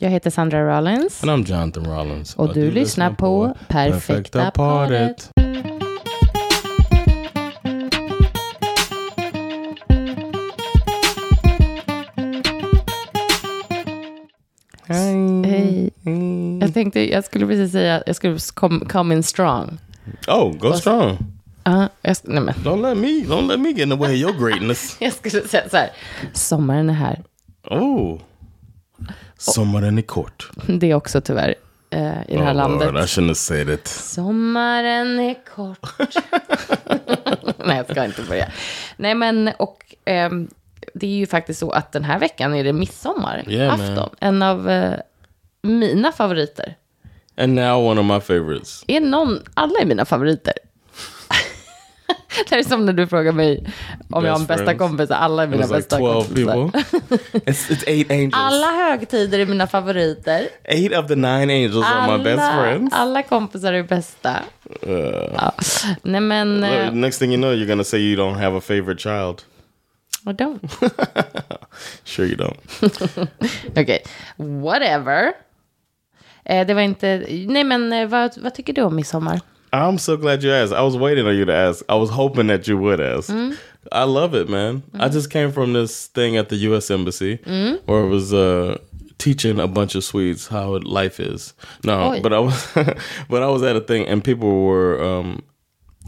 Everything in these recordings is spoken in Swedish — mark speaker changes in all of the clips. Speaker 1: Jag heter Sandra Rollins.
Speaker 2: And I'm Jonathan Rollins.
Speaker 1: Och du, lyssnar på Perfekta paret.
Speaker 2: Hej.
Speaker 1: Hej. Jag tänkte, jag skulle precis säga, jag skulle come, come in strong.
Speaker 2: Oh, go strong.
Speaker 1: Ja, jag, sk- nej men.
Speaker 2: Don't let me, don't let me get in the way of your greatness.
Speaker 1: jag skulle säga så här, sommaren är här.
Speaker 2: Oh. Sommaren är kort.
Speaker 1: Det är också tyvärr eh, i det här
Speaker 2: oh,
Speaker 1: landet.
Speaker 2: Lord, I shouldn't have said it.
Speaker 1: Sommaren är kort. Nej, jag ska inte börja. Nej, men och ehm, det är ju faktiskt så att den här veckan är det midsommarafton.
Speaker 2: Yeah, man.
Speaker 1: en av eh, mina favoriter.
Speaker 2: And now one of my favorites.
Speaker 1: Är någon, alla är mina favoriter. det här är som när du frågar mig om jag har en
Speaker 2: Best
Speaker 1: bästa
Speaker 2: friends.
Speaker 1: kompis. Alla är
Speaker 2: It
Speaker 1: mina
Speaker 2: was like
Speaker 1: bästa
Speaker 2: 12
Speaker 1: kompisar.
Speaker 2: people. It's, it's eight angels.
Speaker 1: Alla högtider är mina favoriter.
Speaker 2: Eight of the nine angels are my best friends. Eh.
Speaker 1: alla kompisar är bästa. Ja. Nej men,
Speaker 2: Look,
Speaker 1: eh,
Speaker 2: next thing you know, you're going to say you don't have a favorite child.
Speaker 1: I don't.
Speaker 2: Sure you don't.
Speaker 1: Okej, whatever. Eh, det var inte... Nej, men eh, vad, vad tycker du om midsommar?
Speaker 2: I'm so glad you asked. I was waiting on you to ask. I was hoping that you would ask. I love it, man. I just came from this thing at the U.S. Embassy where it was uh, teaching a bunch of Swedes how life is. No,
Speaker 1: Oj.
Speaker 2: but I was, but I was at a thing and people were um,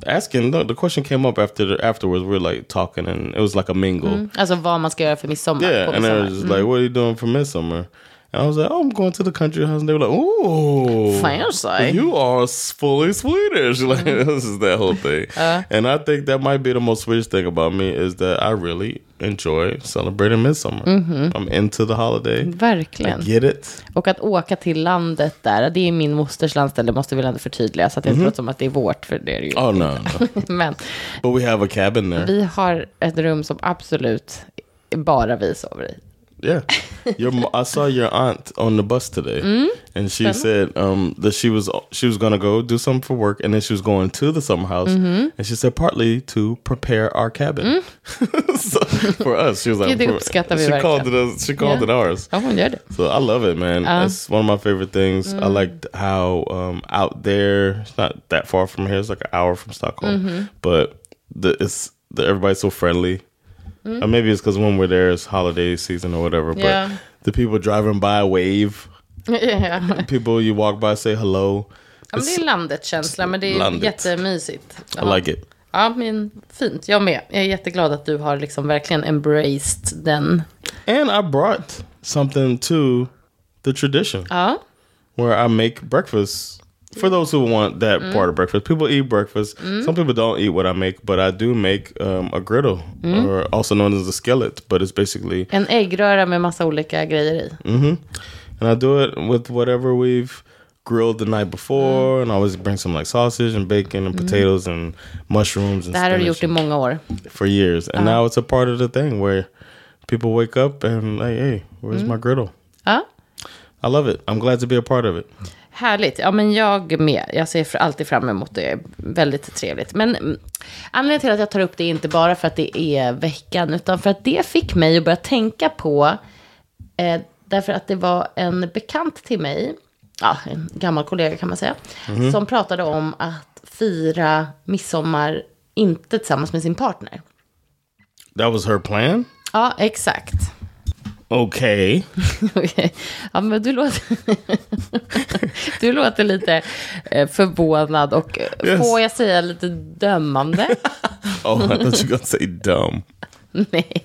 Speaker 2: asking. The, the question came up after the, afterwards. We were like talking and it was like a mingle.
Speaker 1: Alltså vad man ska göra för midsommar.
Speaker 2: Yeah,
Speaker 1: på
Speaker 2: and they
Speaker 1: midsommar.
Speaker 2: were just like, "What are you doing for midsummer?" And I was like, "Oh, I'm going to the country house." And they were like, "Ooh,
Speaker 1: Fancy."
Speaker 2: You are s- fully Swedish." Like this is that whole thing. and I think that might be the most Swedish thing about me is that I really enjoy celebrating midsummer. I'm into the holiday. I
Speaker 1: Verkligen.
Speaker 2: get it?
Speaker 1: Och att åka till landet där, det är min mosters landställe, måste väl ändå förtydliga, så att det inte låter som att det är vårt, för det är det ju.
Speaker 2: Oh no, no.
Speaker 1: Men
Speaker 2: but we have a cabin there.
Speaker 1: vi har ett rum som absolut bara vi sover i.
Speaker 2: Yeah, your mo- I saw your aunt on the bus today, and she said um, that she was she was gonna go do something for work, and then she was going to the summer house, and she said partly to prepare our cabin so, for us. She was like,
Speaker 1: Gud, det
Speaker 2: for-
Speaker 1: uppskattar vi
Speaker 2: she called it
Speaker 1: verkligen.
Speaker 2: us, she called
Speaker 1: Yeah.
Speaker 2: it ours.
Speaker 1: Ja, hon gör det.
Speaker 2: So I love it, man. It's one of my favorite things. I like how um, out there. It's not that far from here. It's like an hour from Stockholm, but the it's the, everybody's so friendly. Or maybe it's because when we're there, it's holiday season or whatever. But
Speaker 1: Yeah.
Speaker 2: the people driving by wave. People you walk by say hello.
Speaker 1: Ja, men det är landetkänsla, men det är
Speaker 2: Landet.
Speaker 1: jättemysigt.
Speaker 2: I like it.
Speaker 1: Ja, men fint. Jag med. Jag är jätteglad att du har liksom verkligen embraced den.
Speaker 2: And I brought something to the tradition.
Speaker 1: Ja.
Speaker 2: where I make breakfast for those who want that part of breakfast. People eat breakfast. Some people don't eat what I make, but I do make um, a griddle, or also known as a skillet. But it's basically,
Speaker 1: En äggröra med massa olika grejer i.
Speaker 2: and I do it with whatever we've grilled the night before, and I always bring some like sausage and bacon and potatoes and mushrooms and
Speaker 1: Det här har du
Speaker 2: spinach
Speaker 1: gjort i många år.
Speaker 2: for years. And now it's a part of the thing where people wake up and like, hey, where's my griddle?
Speaker 1: Ja.
Speaker 2: I love it. I'm glad to be a part of it.
Speaker 1: Härligt. Ja, men jag med. Jag ser fr- alltid fram emot det. Väldigt trevligt. Men mm, anledningen till att jag tar upp det är inte bara för att det är veckan, utan för att det fick mig att börja tänka på, eh, därför att det var en bekant till mig, ja, en gammal kollega kan man säga, som pratade om att fira midsommar inte tillsammans med sin partner.
Speaker 2: That was her plan.
Speaker 1: Ja, exakt.
Speaker 2: Okay.
Speaker 1: Okej. Ja, men du låter, du låter lite eh, förvånad och eh,
Speaker 2: Yes.
Speaker 1: får jag säga lite dömande?
Speaker 2: Oh, I thought you were gonna say dumb.
Speaker 1: Nej,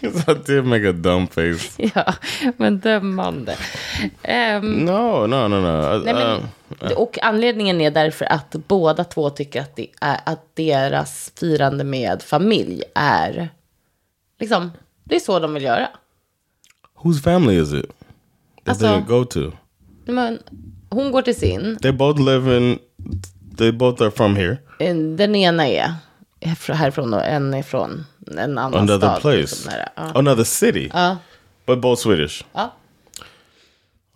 Speaker 2: 'Cause I did make a dumb face.
Speaker 1: ja, men dömande. Ehm,
Speaker 2: No, no, no, no. I-
Speaker 1: nej, men,
Speaker 2: uh,
Speaker 1: och anledningen är därför att båda två tycker att, det är, att deras firande med familj är liksom Det är så de vill göra.
Speaker 2: Whose family is it that they
Speaker 1: Alltså-
Speaker 2: didn't go to?
Speaker 1: Men hon går till sin.
Speaker 2: They both live in. They both are from here.
Speaker 1: Eh, Den ena är härifrån och en är från en annan
Speaker 2: Another
Speaker 1: stad.
Speaker 2: place.
Speaker 1: liksom, nära. Ja.
Speaker 2: Another city. But both Swedish.
Speaker 1: Ja.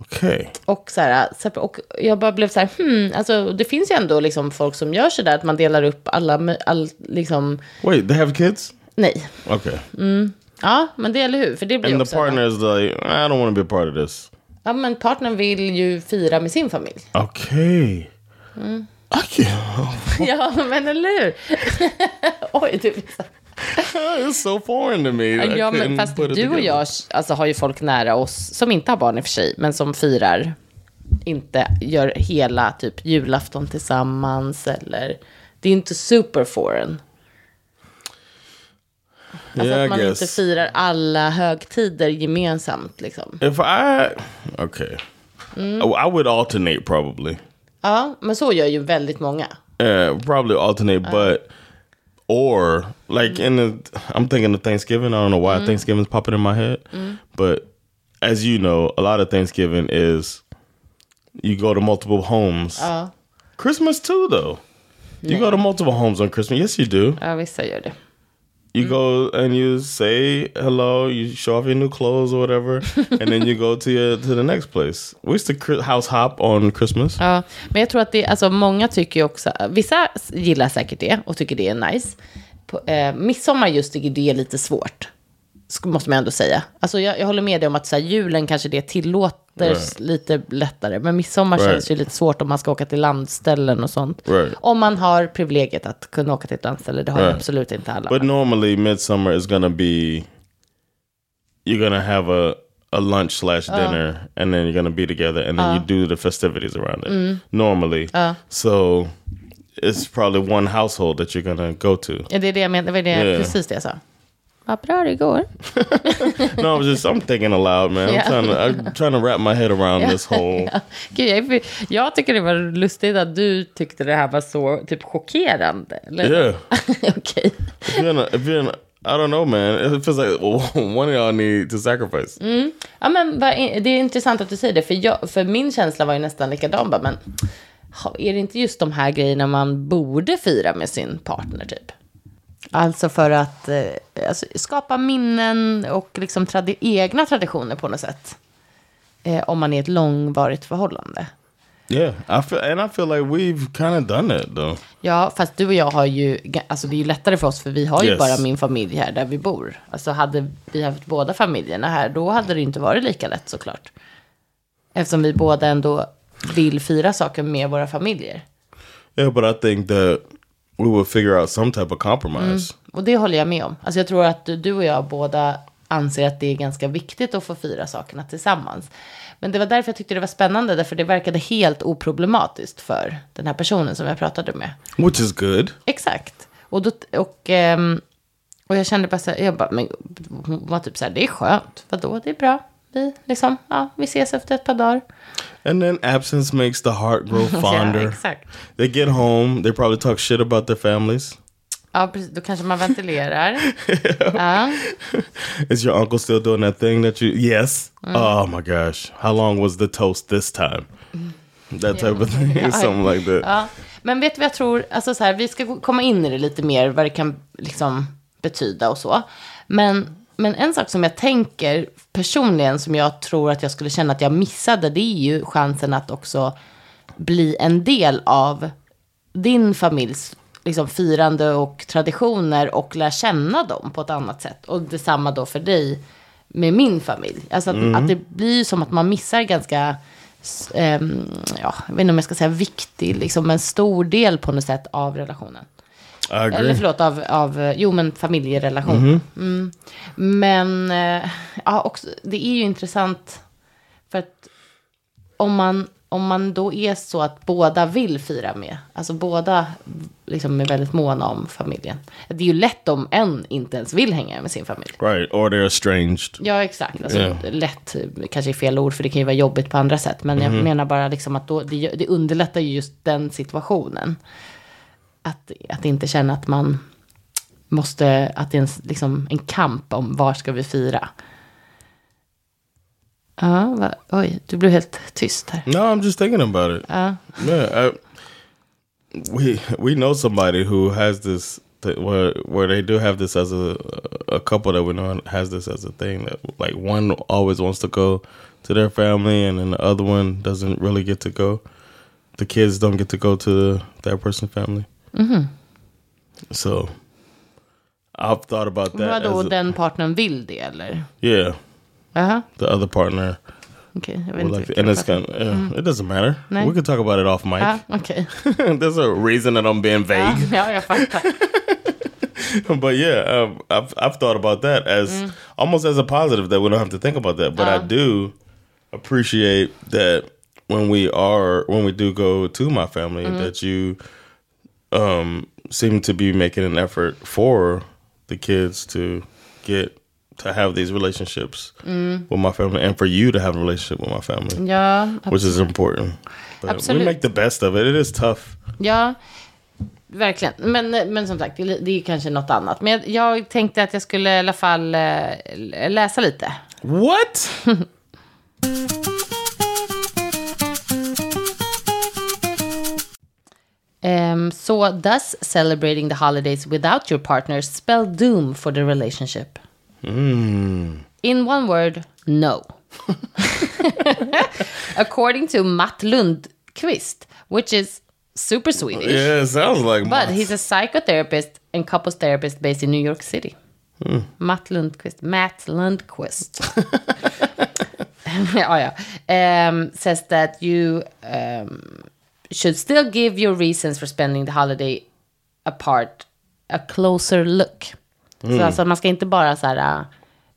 Speaker 2: Okay.
Speaker 1: Och, så här, separ- och jag bara blev så här, hmm, alltså, det finns ju ändå liksom folk som gör så där att man delar upp alla, mö- all, liksom,
Speaker 2: Wait, they have kids?
Speaker 1: nej.
Speaker 2: Okay.
Speaker 1: Ja, men det eller hur? För det blir
Speaker 2: And the
Speaker 1: också...
Speaker 2: partner is like, I don't want to be a part of this.
Speaker 1: Ja, men partnern vill ju fira med sin familj.
Speaker 2: Okay. I can't.
Speaker 1: ja, men eller hur? Oj, du blir så
Speaker 2: it's so foreign to me. I
Speaker 1: Ja, men
Speaker 2: couldn't
Speaker 1: fast
Speaker 2: put it
Speaker 1: du och
Speaker 2: together.
Speaker 1: jag alltså, har ju folk nära oss som inte har barn i och för sig, men som firar, inte gör hela typ julafton tillsammans eller, det är inte super foreign. Alltså
Speaker 2: Yeah,
Speaker 1: att
Speaker 2: I
Speaker 1: man inte
Speaker 2: guess.
Speaker 1: firar alla högtider gemensamt liksom.
Speaker 2: If I okay, Oh, I would alternate probably.
Speaker 1: Ja, men så gör ju väldigt många.
Speaker 2: Yeah, probably alternate, but or like in the I'm thinking of Thanksgiving. I don't know why Thanksgiving's popping in my head, but as you know, a lot of Thanksgiving is you go to multiple homes.
Speaker 1: Ja,
Speaker 2: Christmas too, though. You go to multiple homes on Christmas. Yes, you do.
Speaker 1: ja vissa gör det.
Speaker 2: You go and you say hello. You show off your new clothes or whatever, and then you go to your, to the next place. We used to cri- house hop on Christmas.
Speaker 1: Ja, men jag tror att det, alltså många tycker ju också, vissa gillar säkert det och tycker det är nice. På, eh, midsommar just tycker det är lite svårt, sk- måste man ändå säga. Alltså jag, jag håller med dig om att så här, julen kanske det tillåter s- lite lättare, men midsommar
Speaker 2: Right.
Speaker 1: känns ju lite svårt om man ska åka till landställen och sånt.
Speaker 2: Right.
Speaker 1: Om man har privilegiet att kunna åka till ett landställe, det har ju
Speaker 2: Right.
Speaker 1: absolut inte alla.
Speaker 2: But normally, midsummer is gonna be you're gonna have a a lunch slash dinner, and then you're gonna be together, and then you do the festivities around it. Normally, so it's probably one household that you're gonna go to.
Speaker 1: Ja, det är det jag menar, det var det,
Speaker 2: Yeah.
Speaker 1: precis det jag sa. Vad bra det går.
Speaker 2: No, I'm just I'm thinking aloud, man.
Speaker 1: Yeah.
Speaker 2: I'm trying to I'm trying to wrap my head around this whole.
Speaker 1: Gud, jag, är- jag tycker det var lustigt att du tyckte det här var så typ chockerande. Eller?
Speaker 2: Yeah.
Speaker 1: Okej.
Speaker 2: If you're in a- if you're in a- I don't know, man. It feels like one of y'all need to sacrifice.
Speaker 1: Ja, men vad i- det är intressant att du säger det, för, jag, för min känsla var ju nästan likadan. Bara, men ha, är det inte just de här grejerna man borde fira med sin partner typ? Alltså för att eh, alltså, skapa minnen och liksom tradi- egna traditioner på något sätt. Eh, om man är i ett långvarigt förhållande.
Speaker 2: Yeah, I feel, and I feel like we've kind of done it though.
Speaker 1: Ja, fast du och jag har ju, ga- alltså det är ju lättare för oss för vi har ju
Speaker 2: Yes.
Speaker 1: bara min familj här där vi bor. Alltså hade vi haft båda familjerna här, då hade det ju inte varit lika lätt såklart. Eftersom vi båda ändå vill fira saker med våra familjer.
Speaker 2: Yeah, but I think that we will figure out some type of compromise.
Speaker 1: Och det håller jag med om. Alltså jag tror att du- du och jag båda anser att det är ganska viktigt att få fira sakerna tillsammans. Men det var därför jag tyckte det var spännande, därför det verkade helt oproblematiskt för den här personen som jag pratade med.
Speaker 2: Which is good.
Speaker 1: Exakt. Och, då, och, ehm, och jag kände bara så här, jag bara, men hon var typ så här, det är skönt, vadå, det är bra. Vi, liksom, ja, vi ses efter ett par dagar.
Speaker 2: And then absence makes the heart grow
Speaker 1: Ja,
Speaker 2: fonder.
Speaker 1: exakt.
Speaker 2: They get home, they probably talk shit about their families.
Speaker 1: Ja, precis, då kanske man ventilerar.
Speaker 2: Is your uncle still doing that thing that you Yes. Oh my gosh. How long was the toast this time? That type of thing. Something like that.
Speaker 1: Ja. Men vet du vad jag tror, alltså så här, vi ska gå- komma in i det lite mer, vad det kan liksom betyda och så. Men, men en sak som jag tänker personligen, som jag tror att jag skulle känna att jag missade, det är ju chansen att också bli en del av din familjs liksom, firande och traditioner och lära känna dem på ett annat sätt. Och detsamma då för dig med min familj. Alltså att, att det blir ju som att man missar ganska, s- ehm, ja, jag vet inte om jag ska säga viktig, liksom en stor del på något sätt av relationen.
Speaker 2: I
Speaker 1: Eller
Speaker 2: agree.
Speaker 1: förlåt, av, av eh, jo men familjerelation. Mm. Men eh, ja, också, det är ju intressant för att om man, om man då är så att båda vill fira med, alltså båda liksom är väldigt måna om familjen. Det är ju lätt om en inte ens vill hänga med sin familj.
Speaker 2: Right. Or they're estranged.
Speaker 1: Ja, exakt. Alltså,
Speaker 2: Ja.
Speaker 1: Lätt eh, kanske är fel ord, för det kan ju vara jobbigt på andra sätt. Men jag menar bara liksom att då, det, gör- det underlättar ju just den situationen. Att, att inte känna att man måste, att det är en, liksom, en kamp om var ska vi fira. Ja, va, oj, du blev helt tyst här.
Speaker 2: No, I'm just thinking about it. yeah, I, we we know somebody who has this th- where where they do have this as a a couple that we know has this as a thing that like one always wants to go to their family and then the other one doesn't really get to go. The kids don't get to go to the, that person's family. Mm-hmm. So I've thought about that.
Speaker 1: Vadå,
Speaker 2: as a-
Speaker 1: den partnern vill det eller?
Speaker 2: yeah,
Speaker 1: Jaha,
Speaker 2: the other partner.
Speaker 1: okej. jag vet
Speaker 2: Well,
Speaker 1: inte
Speaker 2: like,
Speaker 1: vilken
Speaker 2: and it's
Speaker 1: partner.
Speaker 2: kind of, yeah, it Mm-hmm. Uh, doesn't matter.
Speaker 1: No.
Speaker 2: We can talk about it off mic.
Speaker 1: Ja, okej.
Speaker 2: There's a reason that I'm being vague,
Speaker 1: Ja, jag fattar. Uh-huh.
Speaker 2: but yeah, um, I've I've thought about that as
Speaker 1: Mm.
Speaker 2: almost as a positive that we don't have to think about that. But
Speaker 1: Uh-huh.
Speaker 2: I do appreciate that when we are when we do go to my family
Speaker 1: Mm-hmm.
Speaker 2: that you um seem to be making an effort for the kids to get to have these relationships
Speaker 1: Mm.
Speaker 2: with my family and for you to have a relationship with my family.
Speaker 1: Ja,
Speaker 2: which is important. But
Speaker 1: Mm. Absolute.
Speaker 2: We make the best of it. It is tough.
Speaker 1: Ja, verkligen. Men, men som sagt, det är det är ju kanske något annat. Men jag, jag tänkte att jag skulle i alla fall eh, läsa lite.
Speaker 2: What?
Speaker 1: Ehm, så, does celebrating the holidays without your partner spell doom for the relationship? In one word, no. According to Matt Lundqvist, which is super Swedish.
Speaker 2: Yeah, it sounds like.
Speaker 1: But
Speaker 2: mine.
Speaker 1: he's a psychotherapist and couples therapist based in New York City. Matt Lundquist. Matt Lundquist. ja, ja. Um, says that you um, should still give your reasons for spending the holiday apart a closer look. Så alltså man ska inte bara så här, uh,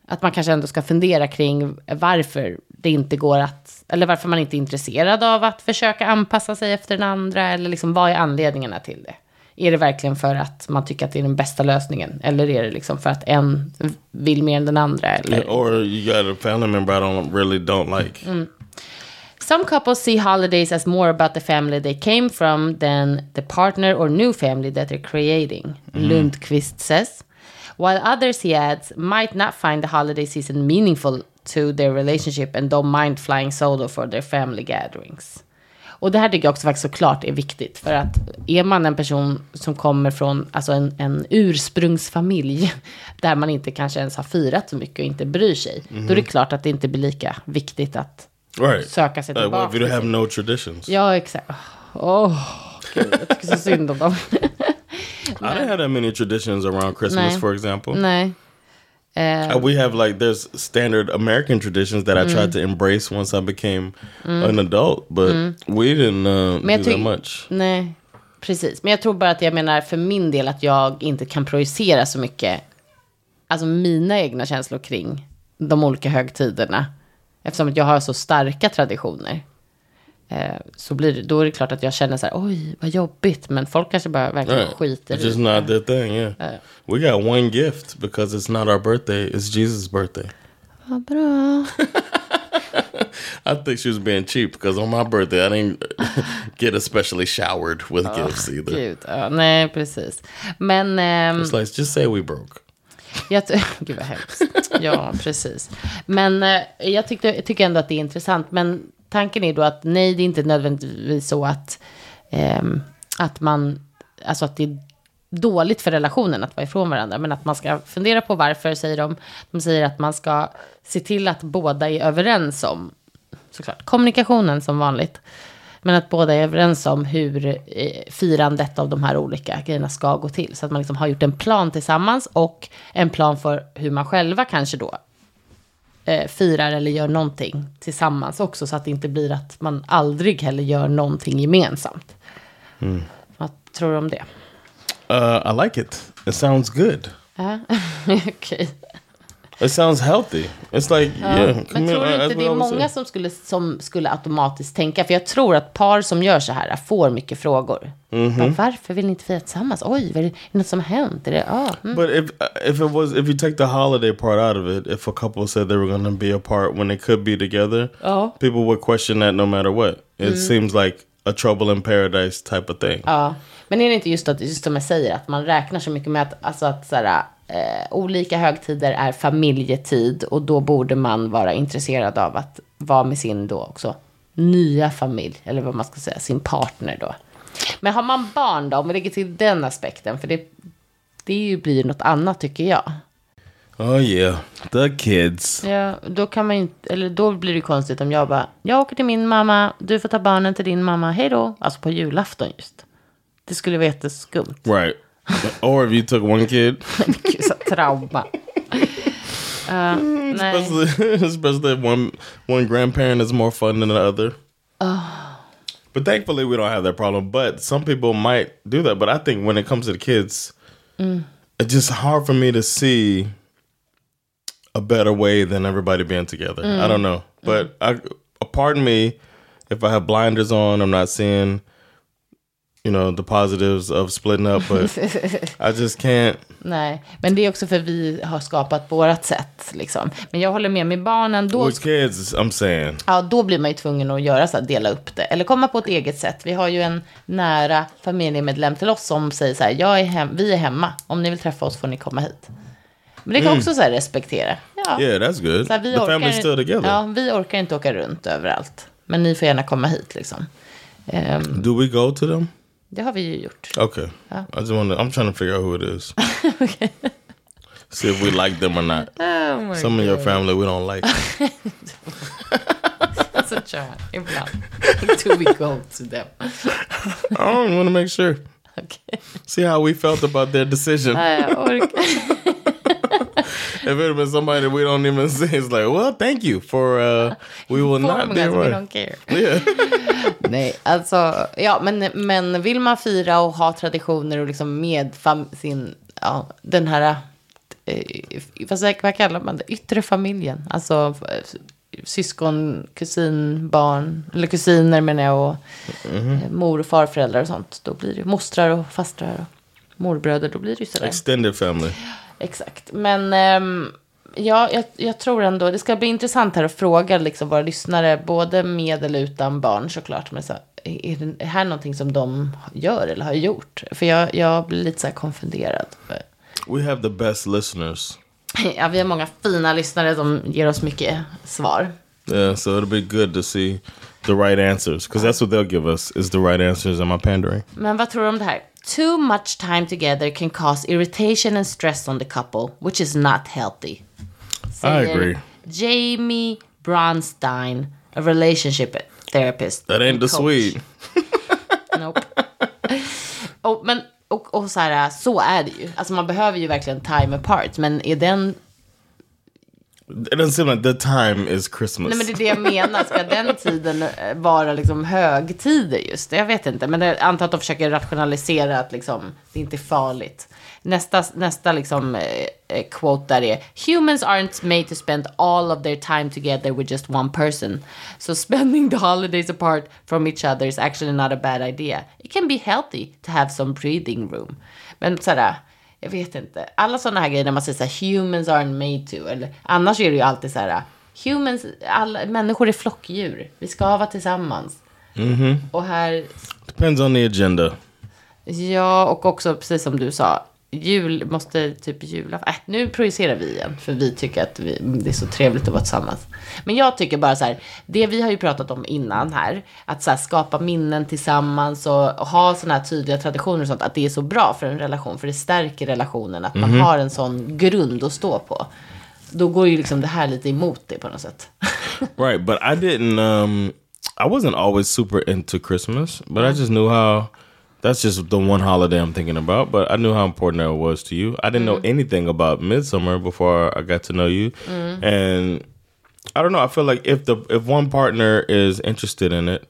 Speaker 1: att man kanske ändå ska fundera kring varför det inte går att, eller varför man inte är intresserad av att försöka anpassa sig efter den andra, eller liksom vad är anledningarna till det? Är det verkligen för att man tycker att det är den bästa lösningen? Eller är det liksom för att en vill mer än den andra? Eller?
Speaker 2: or you got a family member I don't really don't like.
Speaker 1: Some couples see holidays as more about the family they came from than the partner or new family that they're creating, Lundqvist says. While others, he adds, might not find the holiday season meaningful to their relationship and don't mind flying solo for their family gatherings. Och det här tycker jag också faktiskt såklart är viktigt. För att är man en person som kommer från alltså en, en ursprungsfamilj. Där man inte kanske ens har firat så mycket och inte bryr sig. Då är det klart att det inte blir lika viktigt att
Speaker 2: Right.
Speaker 1: söka sig
Speaker 2: Uh,
Speaker 1: tillbaka.
Speaker 2: well, if you don't have no traditions,
Speaker 1: Ja, exakt. Åh, gud, jag tycker så synd om dem.
Speaker 2: I don't have that many traditions around Christmas,
Speaker 1: No.
Speaker 2: for example.
Speaker 1: Nej. Eh,
Speaker 2: Uh, we have like there's standard American traditions that I tried to embrace once I became an adult, but we didn't uh,
Speaker 1: Men
Speaker 2: do
Speaker 1: jag
Speaker 2: that
Speaker 1: tycker...
Speaker 2: much.
Speaker 1: Nej, precis. Men jag tror bara att jag menar för min del att jag inte kan projicera så mycket. Alltså mina egna känslor kring de olika högtiderna. Eftersom att jag har så starka traditioner. Eh, Så blir det, då är det klart att jag känner så här, oj, vad jobbigt. Men folk kanske bara verkligen
Speaker 2: Right.
Speaker 1: skiter
Speaker 2: It's
Speaker 1: i
Speaker 2: just not their thing. Yeah. we got one gift because it's not our birthday. It's Jesus' birthday.
Speaker 1: Vad bra.
Speaker 2: I think she was being cheap because on my birthday I didn't get especially showered with gifts either.
Speaker 1: Gud, ja, nej, precis. Men... ehm,
Speaker 2: It's like just say we broke.
Speaker 1: Jag ty- Gud vad hemskt. Ja, precis. Men eh, jag, tyckte, jag tycker ändå att det är intressant. Men tanken är då att nej, det är inte nödvändigtvis så att, ehm, att man, alltså att det är dåligt för relationen att vara ifrån varandra. Men att man ska fundera på varför, säger de. De säger att man ska se till att båda är överens om, såklart, kommunikationen som vanligt. Men att båda är överens om hur eh, firandet av de här olika grejerna ska gå till. Så att man liksom har gjort en plan tillsammans och en plan för hur man själva kanske då eh, firar eller gör någonting tillsammans också. Så att det inte blir att man aldrig heller gör någonting gemensamt. Vad tror du om det?
Speaker 2: Uh, I like it. It sounds good.
Speaker 1: Ja, Eh, Okej.
Speaker 2: It sounds healthy. It's like yeah.
Speaker 1: Men Mm. tror du
Speaker 2: that's
Speaker 1: inte
Speaker 2: what
Speaker 1: det
Speaker 2: I
Speaker 1: är
Speaker 2: would
Speaker 1: många
Speaker 2: say.
Speaker 1: som skulle, som skulle automatiskt tänka? För jag tror att par som gör så här får mycket frågor. Bara, Varför vill ni inte fira tillsammans? Oj, vad är det är det något som har hänt? Är det, ja, mm.
Speaker 2: But if if it was if you take the holiday part out of it, if a couple said they were going to be apart when they could be together,
Speaker 1: Oh.
Speaker 2: people would question that no matter what. It seems like a trouble in paradise type of thing.
Speaker 1: Ja. Men är det inte just, att, just som jag säger, att man räknar så mycket med att, alltså att så här, eh, olika högtider är familjetid och då borde man vara intresserad av att vara med sin då också nya familj, eller vad man ska säga, sin partner då. Men har man barn då, om vi lägger till den aspekten, för det, det är ju, blir ju något annat tycker jag.
Speaker 2: Oh yeah, the kids.
Speaker 1: Ja, då kan man ju inte, eller då blir det ju konstigt om jag bara, jag åker till min mamma, du får ta barnen till din mamma, hej då. Alltså på julafton just. Det skulle vara jätteskumt.
Speaker 2: Right. or if you took one kid,
Speaker 1: Gud, så trauma. Ja, nej.
Speaker 2: especially, especially if one one grandparent is more fun than the other. But thankfully, we don't have that problem. But some people might do that. But I think when it comes to the kids, it's just hard for me to see a better way than everybody being together. I don't know. But I, uh, pardon me if I have blinders on. I'm not seeing, you know, the positives of splitting up. But I just can't.
Speaker 1: nej, men det är också för vi har skapat vårat sätt. Liksom. Men jag håller med, med barnen, då,
Speaker 2: With kids, I'm saying.
Speaker 1: ja, då blir man ju tvungen att göra så här, dela upp det. Eller komma på ett eget sätt. Vi har ju en nära familjemedlem till oss som säger så här, jag är hem, vi är hemma, om ni vill träffa oss får ni komma hit. Men det kan också så här respektera. Ja.
Speaker 2: Mm. Yeah, that's good.
Speaker 1: Så här, vi
Speaker 2: the
Speaker 1: orkar,
Speaker 2: family's still together.
Speaker 1: Ja, vi orkar inte åka runt överallt. Men ni får gärna komma hit liksom. Ehm,
Speaker 2: Do we go to them?
Speaker 1: det har vi ju gjort.
Speaker 2: Okay.
Speaker 1: Oh.
Speaker 2: I just want to. I'm trying to figure out who it is. See if we like them or not. Some of your family we don't like.
Speaker 1: Alltså, kör man ibland. Do we go to them?
Speaker 2: I don't want to make sure.
Speaker 1: Okej.
Speaker 2: See how we felt about their decision.
Speaker 1: Nej, jag orkar.
Speaker 2: if it had been somebody we don't even see, it's like, well, thank you for. Uh, we will not be
Speaker 1: Formula, we
Speaker 2: around.
Speaker 1: don't care.
Speaker 2: Yeah.
Speaker 1: Nej, alltså, ja, men, men vill man fira och ha traditioner och liksom med fam- sin, ja, den här, eh, vad, säger- vad kallar man det, yttre familjen, alltså eh, syskon, kusin, barn, eller kusiner menar jag, och eh, mor och farföräldrar och sånt, då blir det mostrar och fastrar och morbröder, då blir det ju sådär.
Speaker 2: Extended family.
Speaker 1: Exakt. Men ehm, ja, jag, jag tror ändå, det ska bli intressant här att fråga liksom våra lyssnare, både med eller utan barn såklart. Men så, är det här någonting som de gör eller har gjort? För jag, jag blir lite så här konfunderad.
Speaker 2: We have the best listeners.
Speaker 1: Ja, vi har många fina lyssnare som ger oss mycket svar.
Speaker 2: Yeah, so it'll be good to see the right answers because that's what they'll give us is the right answers. Am I pandering?
Speaker 1: Men vad tror du om det här? Too much time together can cause irritation and stress on the couple, which is not healthy.
Speaker 2: I agree.
Speaker 1: Jamie Bronstein, a relationship therapist.
Speaker 2: That ain't the
Speaker 1: Coach.
Speaker 2: sweet.
Speaker 1: Nope. och, men, och, och så här, så är det ju. Alltså man behöver ju verkligen time apart. Men är den,
Speaker 2: It doesn't seem like the time is Christmas.
Speaker 1: nej men det är det jag menar. Ska den tiden eh, vara liksom högtider just? Jag vet inte. Men det, jag antar att de försöker rationalisera att liksom, det inte är farligt. Nästa, nästa liksom, eh, eh, quote där är Humans aren't made to spend all of their time together with just one person. So spending the holidays apart from each other is actually not a bad idea. It can be healthy to have some breathing room. Men sådär, jag vet inte. Alla sådana här grejer när man säger såhär, humans aren't made to. Eller, annars är det ju alltid såhär, humans, alla, människor är flockdjur. Vi ska vara tillsammans. Och här
Speaker 2: Depends on the agenda.
Speaker 1: Ja, och också precis som du sa. Jul måste typ julafton. Äh, nu projicerar vi igen. För vi tycker att vi, det är så trevligt att vara tillsammans. Men jag tycker bara så här. Det vi har ju pratat om innan här. Att så här, skapa minnen tillsammans och, och ha sådana här tydliga traditioner och sånt. Att det är så bra för en relation. För det stärker relationen. Att man har en sån grund att stå på. Då går ju liksom det här lite emot det på något sätt.
Speaker 2: Right, but I didn't um I wasn't always super into Christmas, but I just knew how that's just the one holiday I'm thinking about, but I knew how important it was to you. I didn't know anything about midsummer before I got to know you. And I don't know, I feel like if the if one partner is interested in it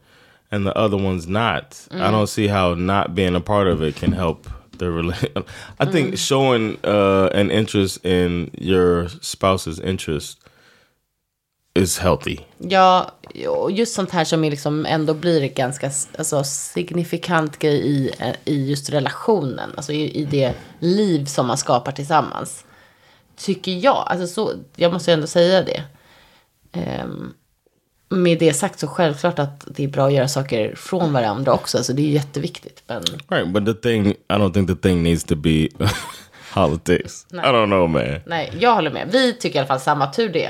Speaker 2: and the other one's not, I don't see how not being a part of it can help the relation. I think showing uh an interest in your spouse's interest is healthy.
Speaker 1: Ja, och just sånt här som är liksom ändå blir ett ganska alltså, signifikant grej i, i just relationen. Alltså i, i det liv som man skapar tillsammans. Tycker jag. Alltså så, jag måste ju ändå säga det. Ehm, med det sagt så självklart att det är bra att göra saker från varandra också. Så det är ju jätteviktigt. Men
Speaker 2: Right, but the thing, I don't think the thing needs to be holidays. I don't know, man.
Speaker 1: nej, jag håller med. Vi tycker i alla fall samma. Tur det.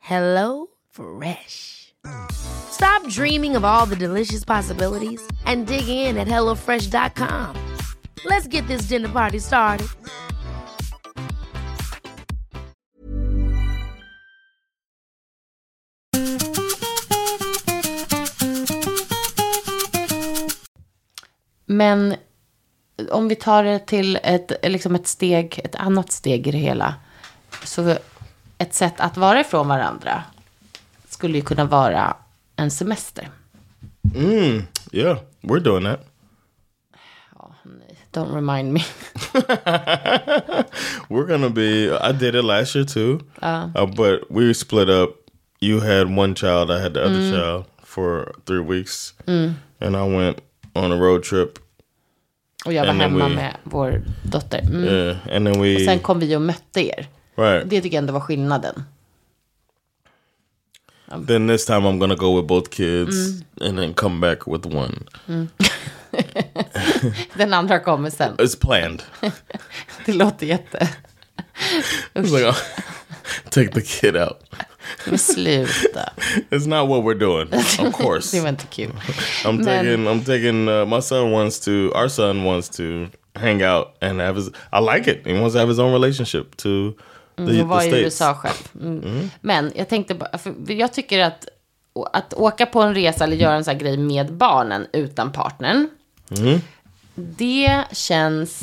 Speaker 3: Hello Fresh. Stop dreaming of all the delicious possibilities and dig in at HelloFresh.com. Let's get this dinner party started.
Speaker 1: Men om vi tar det till ett, liksom ett steg, ett annat steg i det hela. Så ett sätt att vara ifrån varandra skulle ju kunna vara en semester.
Speaker 2: Yeah, we're doing that.
Speaker 1: Don't remind me.
Speaker 2: We're gonna be. I did it last year too, uh, but we split up. You had one child, I had the other child for three weeks, and I went on a road trip.
Speaker 1: Och jag var
Speaker 2: Nej, men
Speaker 1: hemma
Speaker 2: vi-
Speaker 1: med vår dotter. Mm.
Speaker 2: Yeah, and then we
Speaker 1: Sen kom vi och mötte er.
Speaker 2: right.
Speaker 1: Det tycker jag ändå var skillnaden.
Speaker 2: Then this time I'm gonna go with both kids, and then come back with one.
Speaker 1: Den andra kommer sen.
Speaker 2: It's planned.
Speaker 1: Det låter jätte...
Speaker 2: It's like take the kid out.
Speaker 1: Men sluta.
Speaker 2: It's not what we're doing, of course.
Speaker 1: Det var inte kul.
Speaker 2: I'm
Speaker 1: Man.
Speaker 2: taking. I'm taking. Uh, my son wants to. Our son wants to hang out and have his. I like it. He wants to have his own relationship to the,
Speaker 1: Det
Speaker 2: the
Speaker 1: var Mm, i
Speaker 2: states.
Speaker 1: USA själv. Mm. Men jag tänkte bara, för jag tycker att, att åka på en resa eller göra en sån här grej med barnen utan partnern. Mm. Det känns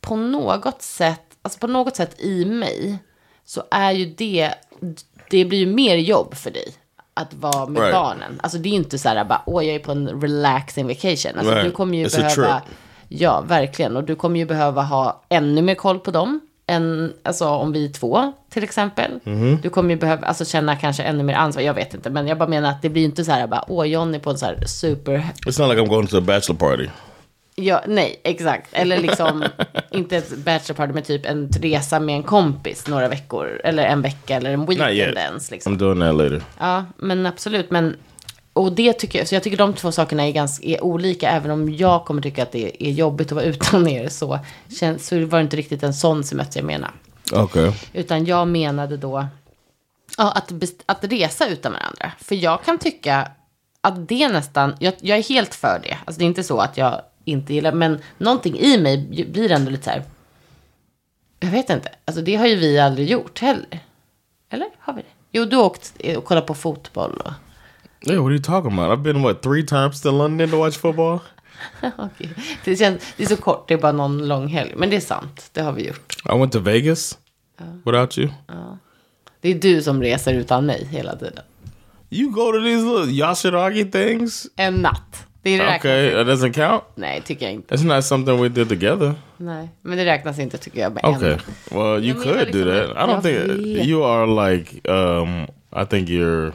Speaker 1: på något sätt, alltså på något sätt i mig, så är ju det, det blir ju mer jobb för dig. Att vara med
Speaker 2: Right.
Speaker 1: barnen. Alltså det är ju inte så här bara, åh jag är på en relaxing vacation. Alltså
Speaker 2: Right.
Speaker 1: du kommer ju
Speaker 2: It's a
Speaker 1: behöva,
Speaker 2: trip.
Speaker 1: ja verkligen. Och du kommer ju behöva ha ännu mer koll på dem. Än, alltså om vi är två till exempel.
Speaker 2: Mhm.
Speaker 1: Du kommer ju behöva, alltså känna kanske ännu mer ansvar. Jag vet inte, men jag bara menar att det blir ju inte så här bara, åh John är på en så här super
Speaker 2: It's not like I'm going to a bachelor party.
Speaker 1: Ja, nej, exakt. Eller liksom, inte ett bachelor party, men typ en resa med en kompis några veckor. Eller en vecka, eller en
Speaker 2: Not
Speaker 1: weekend
Speaker 2: yet.
Speaker 1: ens. Liksom.
Speaker 2: I'm doing that later.
Speaker 1: Ja, men absolut. Men, och det tycker jag, så jag tycker de två sakerna är, ganska, är olika. Även om jag kommer tycka att det är jobbigt att vara utan er, så, känns, så var det inte riktigt en sån semester jag menade.
Speaker 2: Okay.
Speaker 1: Utan jag menade då ja, att, best- att resa utan varandra. För jag kan tycka att det nästan, jag, jag är helt för det. Alltså det är inte så att jag inte gillar, men någonting i mig ju- blir ändå lite så här. Jag vet inte, alltså det har ju vi aldrig gjort heller. Eller har vi det? Jo, du har åkt eh, och kollat på fotboll och...
Speaker 2: Yeah. What are you talking about? I've been what three times to London to watch football.
Speaker 1: Okej. Det, känns, det är så kort, det är bara någon lång helg. Men det är sant, det har vi gjort.
Speaker 2: I went to Vegas without you.
Speaker 1: Det är du som reser utan mig hela tiden.
Speaker 2: You go to these little Yashiragi things.
Speaker 1: En natt. Det räknas
Speaker 2: Okay, that doesn't count.
Speaker 1: Nej, tycker jag inte.
Speaker 2: That's not something we did together.
Speaker 1: Nej, men det räknas inte tycker jag med
Speaker 2: Okay.
Speaker 1: en.
Speaker 2: Well, you
Speaker 1: mean,
Speaker 2: could
Speaker 1: like
Speaker 2: do
Speaker 1: some-
Speaker 2: that. I don't think
Speaker 1: Yeah.
Speaker 2: you are like. um I think you're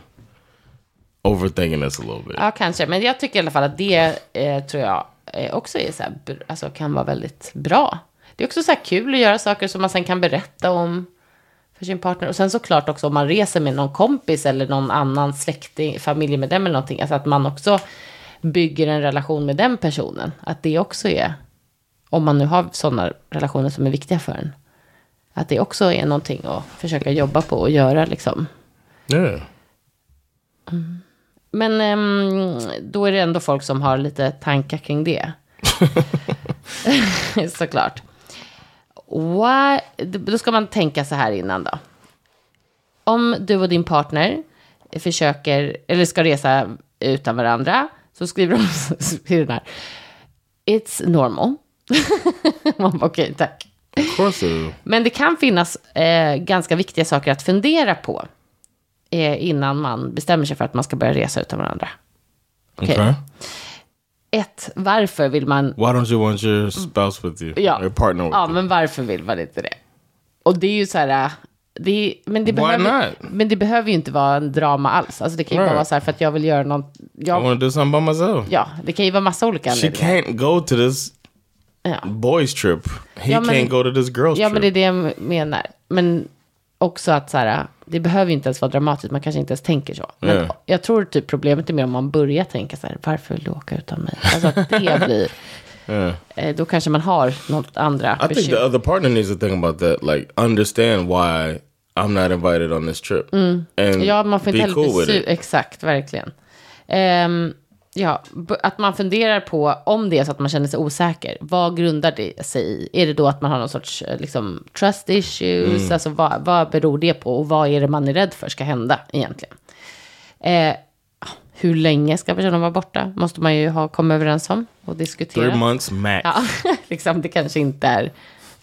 Speaker 2: overthinking this a little bit.
Speaker 1: Ja, kanske. Men jag tycker i alla fall att det eh, tror jag eh, också är så här, br- alltså, kan vara väldigt bra. Det är också så här kul att göra saker som man sen kan berätta om för sin partner. Och sen såklart också om man reser med någon kompis eller någon annan släkting, familjemedlem eller någonting. Alltså att man också bygger en relation med den personen. Att det också är, om man nu har sådana relationer som är viktiga för en. Att det också är någonting att försöka jobba på och göra liksom.
Speaker 2: Yeah.
Speaker 1: Men ehm, då är det ändå folk som har lite tankar kring det. Såklart. Why? Då ska man tänka så här innan då. Om du och din partner försöker, eller ska resa utan varandra, så skriver de skriver den här. It's normal. man bara, okej, tack.
Speaker 2: Of course it is.
Speaker 1: Men det kan finnas eh, ganska viktiga saker att fundera på eh, innan man bestämmer sig för att man ska börja resa utan varandra.
Speaker 2: Okay.
Speaker 1: Ett, varför vill man...
Speaker 2: Why don't you want your spouse with you?
Speaker 1: Ja,
Speaker 2: Your partner with
Speaker 1: ja
Speaker 2: you?
Speaker 1: men varför vill man inte det? Och det är ju så här... eh, Det är, men, det
Speaker 2: Why
Speaker 1: behöver,
Speaker 2: not?
Speaker 1: men det behöver ju inte vara en drama alls. Alltså det kan ju bara
Speaker 2: Right.
Speaker 1: vara så här för att jag vill göra något.
Speaker 2: I
Speaker 1: Jag,
Speaker 2: want to do something by myself.
Speaker 1: ja, det kan ju vara massa olika
Speaker 2: She
Speaker 1: anledningar.
Speaker 2: can't go to this
Speaker 1: Ja.
Speaker 2: boys trip. He
Speaker 1: Ja, men-
Speaker 2: can't go to this girls
Speaker 1: Ja,
Speaker 2: trip.
Speaker 1: men det är det jag menar. Men också att så här, det behöver ju inte ens vara dramatiskt, man kanske inte ens tänker så. Men
Speaker 2: Nej.
Speaker 1: jag tror typ problemet är mer om man börjar tänka så här, varför vill du åka utan mig? Alltså att det blir,
Speaker 2: Yeah.
Speaker 1: eh, då kanske man har något andra
Speaker 2: I think the
Speaker 1: bekymmer.
Speaker 2: other partner needs to think about that. Like, understand why I'm not invited on this trip, and
Speaker 1: Ja, man får inte
Speaker 2: be
Speaker 1: heller
Speaker 2: cool
Speaker 1: bli
Speaker 2: with
Speaker 1: sur.
Speaker 2: it.
Speaker 1: Exakt, verkligen. Ehm, ja, b- att man funderar på om det är så att man känner sig osäker. Vad grundar det sig i? Är det då att man har någon sorts eh, liksom, trust issues? Alltså vad, vad beror det på? Och vad är det man är rädd för ska hända egentligen? Eh, hur länge ska personen vara borta? Måste man ju ha kommit överens om och diskutera.
Speaker 2: Three months max.
Speaker 1: Ja, liksom, det kanske inte är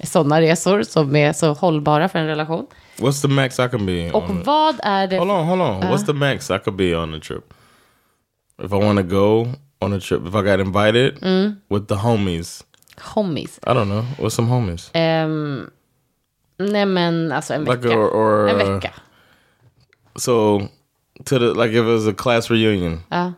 Speaker 1: sådana resor som är så hållbara för en relation.
Speaker 2: What's the max I can be?
Speaker 1: Och
Speaker 2: on it?
Speaker 1: vad är det...
Speaker 2: Hold on, hold on. What's the max I could be on the trip? If I want to go on a trip, if I got invited with the homies,
Speaker 1: Homies.
Speaker 2: I don't know, with some homies,
Speaker 1: Ehm, nej men alltså en
Speaker 2: like
Speaker 1: vecka.
Speaker 2: or, or
Speaker 1: en
Speaker 2: uh,
Speaker 1: vecka.
Speaker 2: so to the like if it was a class reunion,
Speaker 1: Ja.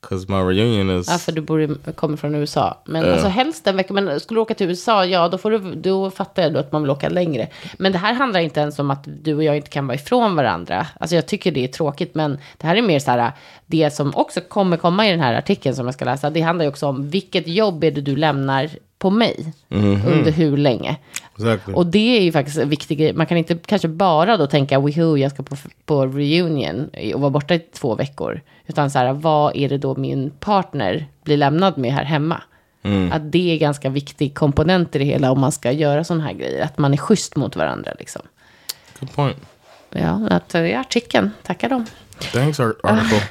Speaker 2: because my reunion is
Speaker 1: ja, för du bor i, kommer från USA. Men alltså helst en vecka. Men skulle du åka till USA, ja då, får du, då fattar jag då att man vill åka längre. Men det här handlar inte ens om att du och jag inte kan vara ifrån varandra. Alltså jag tycker det är tråkigt, men det här är mer så här, det som också kommer komma i den här artikeln som jag ska läsa, det handlar ju också om vilket jobb är det du lämnar på mig under hur länge.
Speaker 2: exactly.
Speaker 1: Och det är ju faktiskt en viktig grej. Man kan inte kanske bara då tänka, woohoo, jag ska på, på reunion och vara borta i två veckor. Utan så här, vad är det då min partner blir lämnad med här hemma? Att det är ganska viktig komponent i det hela om man ska göra sådana här grejer. Att man är schysst mot varandra liksom.
Speaker 2: Good point.
Speaker 1: Ja, att det är artikeln. Tackar dem.
Speaker 2: Thanks, art- article.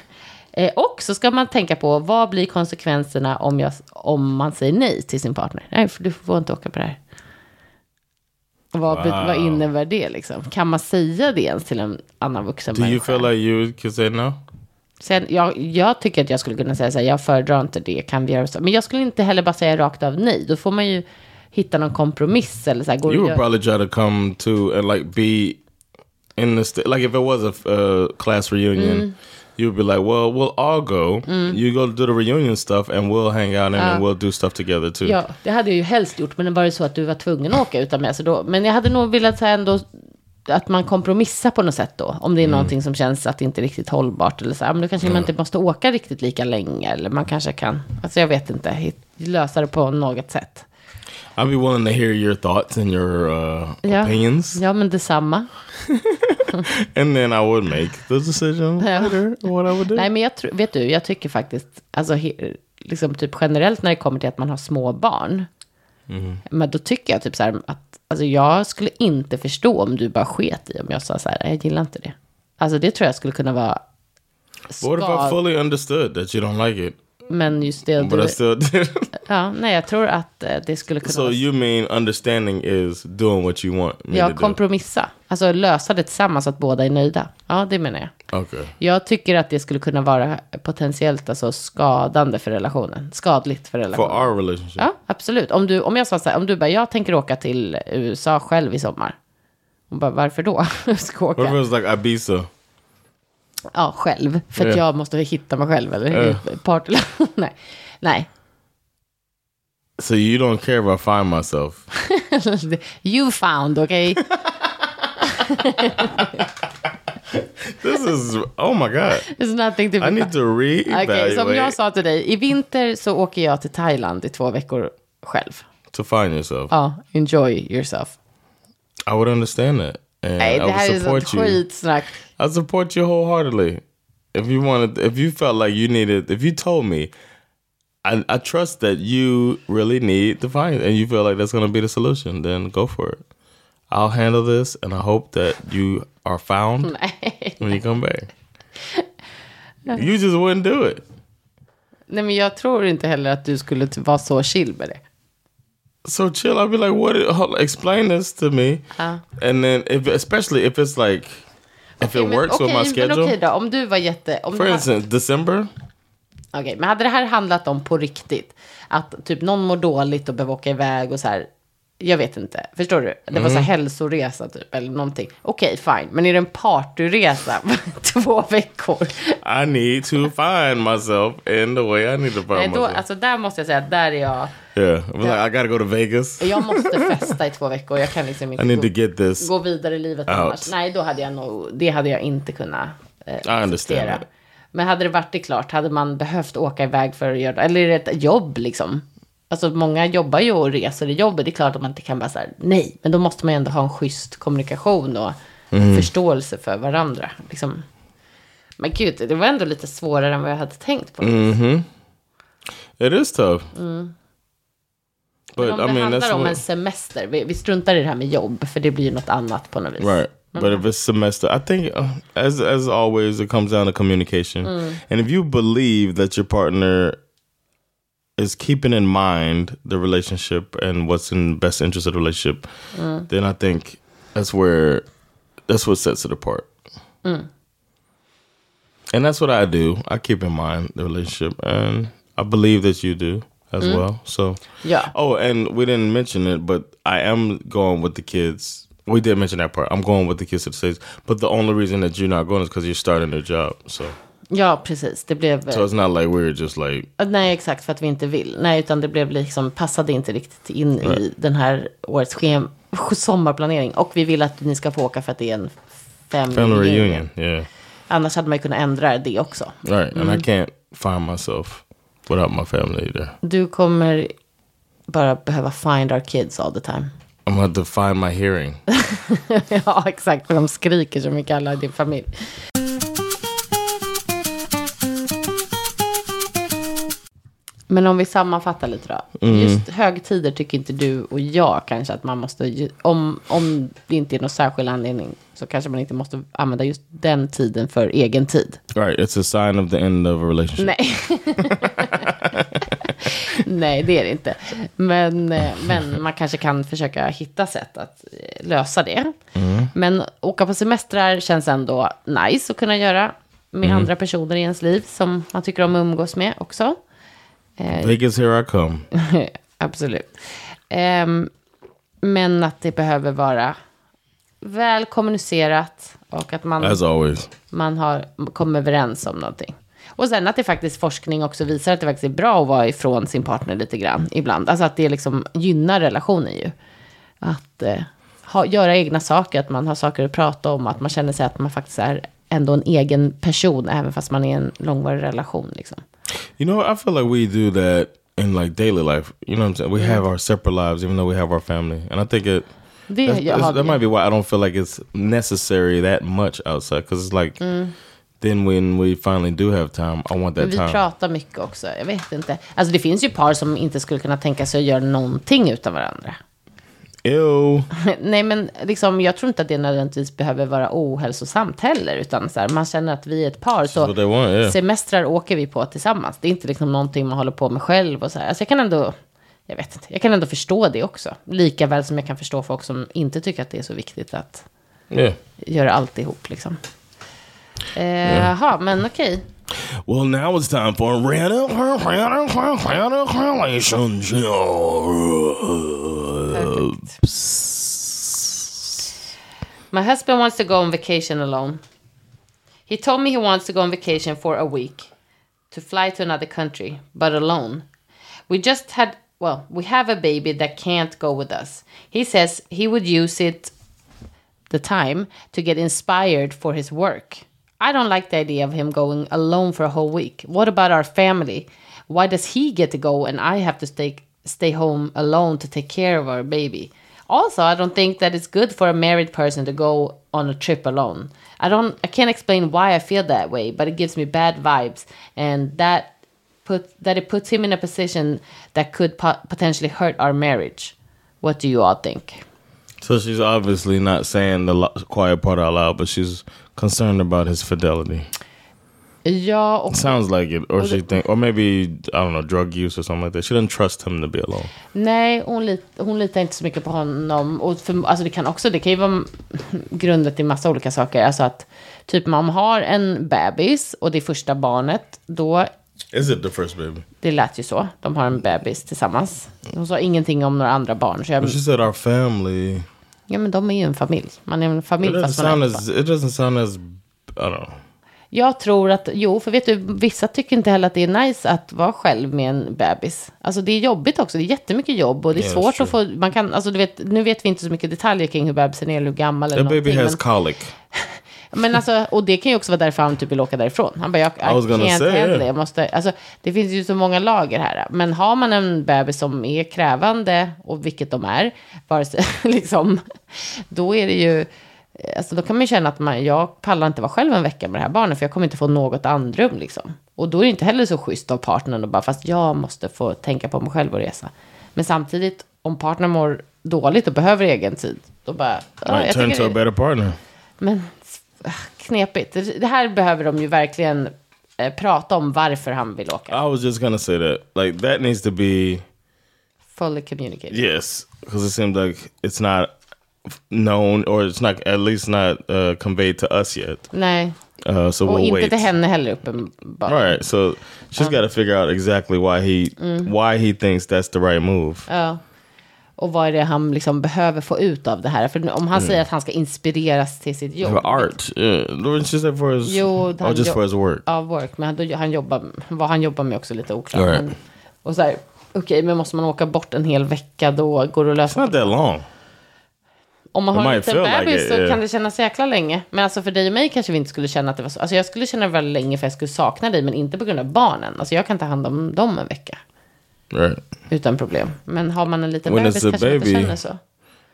Speaker 1: Eh, och så ska man tänka på, vad blir konsekvenserna om, jag, om man säger nej till sin partner? Nej, för du får inte åka på det här. Vad, be- vad
Speaker 2: Wow.
Speaker 1: innebär det liksom? Kan man säga det ens till en annan vuxen
Speaker 2: Do you
Speaker 1: människa?
Speaker 2: feel like you could say no?
Speaker 1: Sen, jag, jag tycker att jag skulle kunna säga så här, jag föredrar inte det, kan vi göra så? Men jag skulle inte heller bara säga rakt av nej. Då får man ju hitta någon kompromiss eller så här. Går det
Speaker 2: You
Speaker 1: att göra-
Speaker 2: would probably try to come to and like be in the st- like if it was a f- uh, class reunion, you'd be like, well, we'll all go. You go do the reunion stuff, and we'll hang out and then we'll do stuff together too.
Speaker 1: Ja, det hade jag ju helst gjort, men det var ju så att du var tvungen att åka utan mig. Så då, men jag hade nog velat säga ändå att man kompromissar på något sätt då. Om det är någonting som känns att det inte är riktigt hållbart. Eller så här, men då kanske man inte måste åka riktigt lika länge. Eller man kanske kan, alltså jag vet inte, hit- lösa det på något sätt.
Speaker 2: I'd be willing to hear your thoughts and your uh,
Speaker 1: Ja,
Speaker 2: opinions,
Speaker 1: ja men detsamma.
Speaker 2: and then I would make the decision
Speaker 1: Ja.
Speaker 2: later what I would do.
Speaker 1: Nej, men jag tror, vet du, jag tycker faktiskt, alltså he, liksom typ generellt när det kommer till att man har små barn, men då tycker jag typ så här att, alltså jag skulle inte förstå om du bara sket i om jag sa så här, jag gillar inte det. Alltså det tror jag skulle kunna vara
Speaker 2: what if I
Speaker 1: skav,
Speaker 2: fully understood that you don't like it,
Speaker 1: men just det,
Speaker 2: but I
Speaker 1: du,
Speaker 2: still did?
Speaker 1: ja, nej jag tror att eh, det skulle kunna
Speaker 2: so
Speaker 1: vara,
Speaker 2: you mean understanding is doing what you want me
Speaker 1: ja,
Speaker 2: to do?
Speaker 1: kompromissa, alltså lösa det tillsammans så att båda är nöjda. Ja, det menar jag.
Speaker 2: Okay.
Speaker 1: Jag tycker att det skulle kunna vara potentiellt alltså skadande för relationen, skadligt för relationen.
Speaker 2: For our relationship.
Speaker 1: Ja, absolut. Om, du, om jag sa så här, om du bara, jag tänker åka till USA själv i sommar. Hon bara, varför då? Jag Ska
Speaker 2: What if it
Speaker 1: åka.
Speaker 2: was like Ibiza?
Speaker 1: Ja, själv. För att
Speaker 2: Ja.
Speaker 1: jag måste hitta mig själv, eller hur? Part- Nej. Nej.
Speaker 2: So you don't care if I find myself.
Speaker 1: You found, okej?
Speaker 2: This is oh my god.
Speaker 1: It's nothing to be
Speaker 2: I need to reevaluate
Speaker 1: Okej, som jag sa till dig, i vinter så åker jag till Thailand i två veckor själv.
Speaker 2: to find yourself.
Speaker 1: Ja, enjoy yourself.
Speaker 2: I would understand that, and
Speaker 1: Nej,
Speaker 2: I
Speaker 1: det här
Speaker 2: would
Speaker 1: är sånt
Speaker 2: support you.
Speaker 1: skitsnack.
Speaker 2: I support you wholeheartedly. If you wanted, if you felt like you needed, if you told me I, I trust that you really need the finance and you feel like that's going to be the solution, then go for it. I'll handle this and I hope that you are found
Speaker 1: Nej.
Speaker 2: when you come back. You just wouldn't do it.
Speaker 1: Nej, men jag tror inte heller att du skulle t- vara så chill med det.
Speaker 2: So chill. I'll be like, what? Hold, explain this to me.
Speaker 1: Ah.
Speaker 2: And then, if especially if it's like, if it
Speaker 1: Okej, men-
Speaker 2: works with my
Speaker 1: okej, men
Speaker 2: schedule.
Speaker 1: Okej då, om du var jätte... Om
Speaker 2: For
Speaker 1: du ha-
Speaker 2: instance, December.
Speaker 1: Okej, men hade det här handlat om på riktigt, att typ någon mår dåligt och behöver åka iväg och så här, jag vet inte, förstår du? Det var så här hälsoresa typ, eller någonting. Okej, fine, men är det en partyresa på två veckor?
Speaker 2: I need to find myself in the way I need to find
Speaker 1: Nej, då,
Speaker 2: myself.
Speaker 1: alltså där måste jag säga att där är jag,
Speaker 2: yeah, I'm like, I gotta go to Vegas.
Speaker 1: jag måste festa i två veckor, jag kan liksom
Speaker 2: I
Speaker 1: inte
Speaker 2: need to
Speaker 1: gå,
Speaker 2: get this.
Speaker 1: gå vidare i livet
Speaker 2: Out.
Speaker 1: annars. Nej, då hade jag nog, det hade jag inte kunnat eh,
Speaker 2: understand
Speaker 1: acceptera.
Speaker 2: that.
Speaker 1: Men hade det varit det klart, hade man behövt åka iväg för att göra Eller är det ett jobb liksom? Alltså många jobbar ju och reser i jobbet. Det är klart att man inte kan bara så här, nej. Men då måste man ju ändå ha en schysst kommunikation och Mm. förståelse för varandra. Liksom. Men gud, det var ändå lite svårare än vad jag hade tänkt på.
Speaker 2: It is tough. But
Speaker 1: Men om
Speaker 2: I
Speaker 1: det
Speaker 2: mean, that's
Speaker 1: handlar om
Speaker 2: what-
Speaker 1: en semester, vi, vi struntar i det här med jobb, för det blir ju något annat på något vis.
Speaker 2: Right. But if it's semester, I think uh, as as always, it comes down to communication. And if you believe that your partner is keeping in mind the relationship and what's in best interest of the relationship, then I think that's where that's what sets it apart. And that's what I do. I keep in mind the relationship, and I believe that you do as well. So
Speaker 1: Yeah.
Speaker 2: Oh, and we didn't mention it, but I am going with the kids. We did mention that part. I'm going with the kids to the states, but the only reason that you're not going is because you're starting a job. So
Speaker 1: Ja, precis. Det blev...
Speaker 2: so it's not like we're just like
Speaker 1: Nej, exakt, för att vi inte vill. Nej, utan det blev liksom, passade inte riktigt in i den här årets schem, sommarplanering. Och vi vill att ni ska få åka för att det är en family,
Speaker 2: family
Speaker 1: reunion.
Speaker 2: reunion. Yeah,
Speaker 1: Annars hade man ju kunnat ändra det också.
Speaker 2: All right. And I can't find myself without my family either.
Speaker 1: Du kommer bara behöva find our kids all the time.
Speaker 2: I'm gonna have to find my hearing.
Speaker 1: ja, exakt, för de skriker så mycket alla i din familj. Men om vi sammanfattar lite då. Just högtider tycker inte du och jag kanske att man måste, ju- om, om det inte är någon särskild anledning, så kanske man inte måste använda just den tiden för egen tid.
Speaker 2: All right, it's a sign of the end of a relationship.
Speaker 1: Nej. Nej, det är det inte. Men, eh, men man kanske kan försöka hitta sätt att eh, lösa det. Men åka på semestrar känns ändå nice att kunna göra med andra personer i ens liv som man tycker om att umgås med också.
Speaker 2: Vegas, here I come.
Speaker 1: Absolut. Ehm, men att det behöver vara väl kommunicerat och att man...
Speaker 2: As always.
Speaker 1: man har kommit överens om någonting. Och sen att det faktiskt forskning också visar att det faktiskt är bra att vara ifrån sin partner lite grann ibland. Alltså att det liksom gynnar relationen ju. Att eh, ha, göra egna saker, att man har saker att prata om, att man känner sig att man faktiskt är ändå en egen person, även fast man är i en långvarig relation. Liksom.
Speaker 2: You know, I feel like we do that in like daily life. You know what I'm saying? We have our separate lives, even though we have our family, and I think it.
Speaker 1: Det
Speaker 2: that's-
Speaker 1: jag
Speaker 2: that's-
Speaker 1: har
Speaker 2: that might be why I don't feel like it's necessary that much outside because it's like then when we finally do have time, I want that
Speaker 1: vi
Speaker 2: time.
Speaker 1: pratar mycket också, jag vet inte. Alltså det finns ju par som inte skulle kunna tänka sig att göra någonting utan varandra.
Speaker 2: Ew.
Speaker 1: Nej, men liksom, jag tror inte att det nödvändigtvis behöver vara ohälsosamt heller. Utan så här, man känner att vi är ett par.
Speaker 2: That's what they
Speaker 1: Så
Speaker 2: want. Yeah.
Speaker 1: semestrar åker vi på tillsammans. Det är inte liksom någonting man håller på med själv. Och så här. Alltså, jag kan ändå... Jag vet inte. Jag kan ändå förstå det också. Lika väl som jag kan förstå folk som inte tycker att det är så viktigt att
Speaker 2: yeah.
Speaker 1: göra allt ihop. Liksom. Eh, Jaha, men okej.
Speaker 2: Well, now it's time for random relationships.
Speaker 1: My husband wants to go on vacation alone. He told me he wants to go on vacation for a week to fly to another country, but alone. We just had, well, we have a baby that can't go with us. He says he would use it, the time, to get inspired for his work. I don't like the idea of him going alone for a whole week. What about our family? Why does he get to go and I have to stay, stay home alone to take care of our baby? Also, I don't think that it's good for a married person to go on a trip alone. I don't I can't explain why I feel that way, but it gives me bad vibes and that put that it puts him in a position that could po- potentially hurt our marriage. What do you all think?
Speaker 2: So she's obviously not saying the lo- quiet part out loud, but she's concerned about his fidelity.
Speaker 1: Ja, och
Speaker 2: Sounds like it, or she think, or maybe I don't know, drug use or something like that. She doesn't trust him to be alone.
Speaker 1: nej, hon, lit, hon litar inte så mycket på honom. Och för, alltså det kan också, det kan ju vara grundat i massa olika saker. Alltså att typ man har en bebis och det är första barnet, då
Speaker 2: Is it the first baby?
Speaker 1: Det lät ju så. De har en bebis tillsammans. De sa ingenting om några andra barn. Så jag,
Speaker 2: But she said our family.
Speaker 1: ja, men de är ju en familj. Man är en
Speaker 2: It
Speaker 1: familj
Speaker 2: doesn't
Speaker 1: fast man
Speaker 2: sound
Speaker 1: är ett barn.
Speaker 2: as. It doesn't sound as. I don't know.
Speaker 1: Jag tror att, jo, för vet du, vissa tycker inte heller att det är nice att vara själv med en bebis. Alltså det är jobbigt också, det är jättemycket jobb och det är
Speaker 2: Yeah, that's
Speaker 1: svårt att få, man kan, alltså du vet, nu vet vi inte så mycket detaljer kring hur bebisen är eller hur gammal eller
Speaker 2: That baby
Speaker 1: någonting.
Speaker 2: has
Speaker 1: men-
Speaker 2: colic.
Speaker 1: Men alltså, och det kan ju också vara därför han typ vill åka därifrån. Han bara, jag, I
Speaker 2: was gonna
Speaker 1: can't
Speaker 2: say,
Speaker 1: handle
Speaker 2: yeah.
Speaker 1: it. Jag måste, alltså, det finns ju så många lager här. Men har man en bebis som är krävande, och vilket de är, vare sig, liksom, då är det ju... Alltså, då kan man ju känna att man, jag pallar inte vara själv en vecka med det här barnet, för jag kommer inte få något andrum. Liksom. Och då är det inte heller så schysst av partnern att bara, fast jag måste få tänka på mig själv och resa. Men samtidigt, om partnern mår dåligt och behöver egen tid, då bara... "Ah,
Speaker 2: Might
Speaker 1: jag
Speaker 2: turn
Speaker 1: tycker
Speaker 2: to a
Speaker 1: det-
Speaker 2: better partner.
Speaker 1: men ah, knepigt. Det det här behöver de ju verkligen eh, prata om varför han vill åka.
Speaker 2: I was just gonna say that. Like that needs to be
Speaker 1: Fully communicated.
Speaker 2: yes, because it seems like it's not known or it's not at least not uh, conveyed to us yet.
Speaker 1: Nej,
Speaker 2: Uh, so
Speaker 1: och
Speaker 2: we'll
Speaker 1: inte
Speaker 2: wait.
Speaker 1: till henne heller uppenbart.
Speaker 2: All right, so she's got to figure out exactly why he why he thinks that's the right move.
Speaker 1: Ja. Och vad är det han liksom behöver få ut av det här? För om han säger att han ska inspireras till sitt jobb.
Speaker 2: For art, yeah. What she said for his,
Speaker 1: Jo,
Speaker 2: oh,
Speaker 1: han
Speaker 2: just
Speaker 1: jo-
Speaker 2: for his work.
Speaker 1: Ja, work. Men han, han jobbar, vad han jobbar med är också lite oklart.
Speaker 2: All right.
Speaker 1: Men- Och så här, okej, men måste man åka bort en hel vecka då? Går det att
Speaker 2: It's
Speaker 1: lösa?
Speaker 2: not that long.
Speaker 1: Om man
Speaker 2: It
Speaker 1: har en
Speaker 2: might
Speaker 1: liten
Speaker 2: feel like
Speaker 1: bebis
Speaker 2: it,
Speaker 1: så
Speaker 2: yeah.
Speaker 1: kan det kännas jäkla länge. Men alltså för dig och mig kanske vi inte skulle känna att det var så. Alltså jag skulle känna det väldigt länge för jag skulle sakna dig, men inte på grund av barnen. Alltså jag kan ta hand om dem en vecka
Speaker 2: Right,
Speaker 1: utan problem. Men har man en liten
Speaker 2: When
Speaker 1: bebis
Speaker 2: it's a
Speaker 1: kanske man inte
Speaker 2: baby.
Speaker 1: känner så.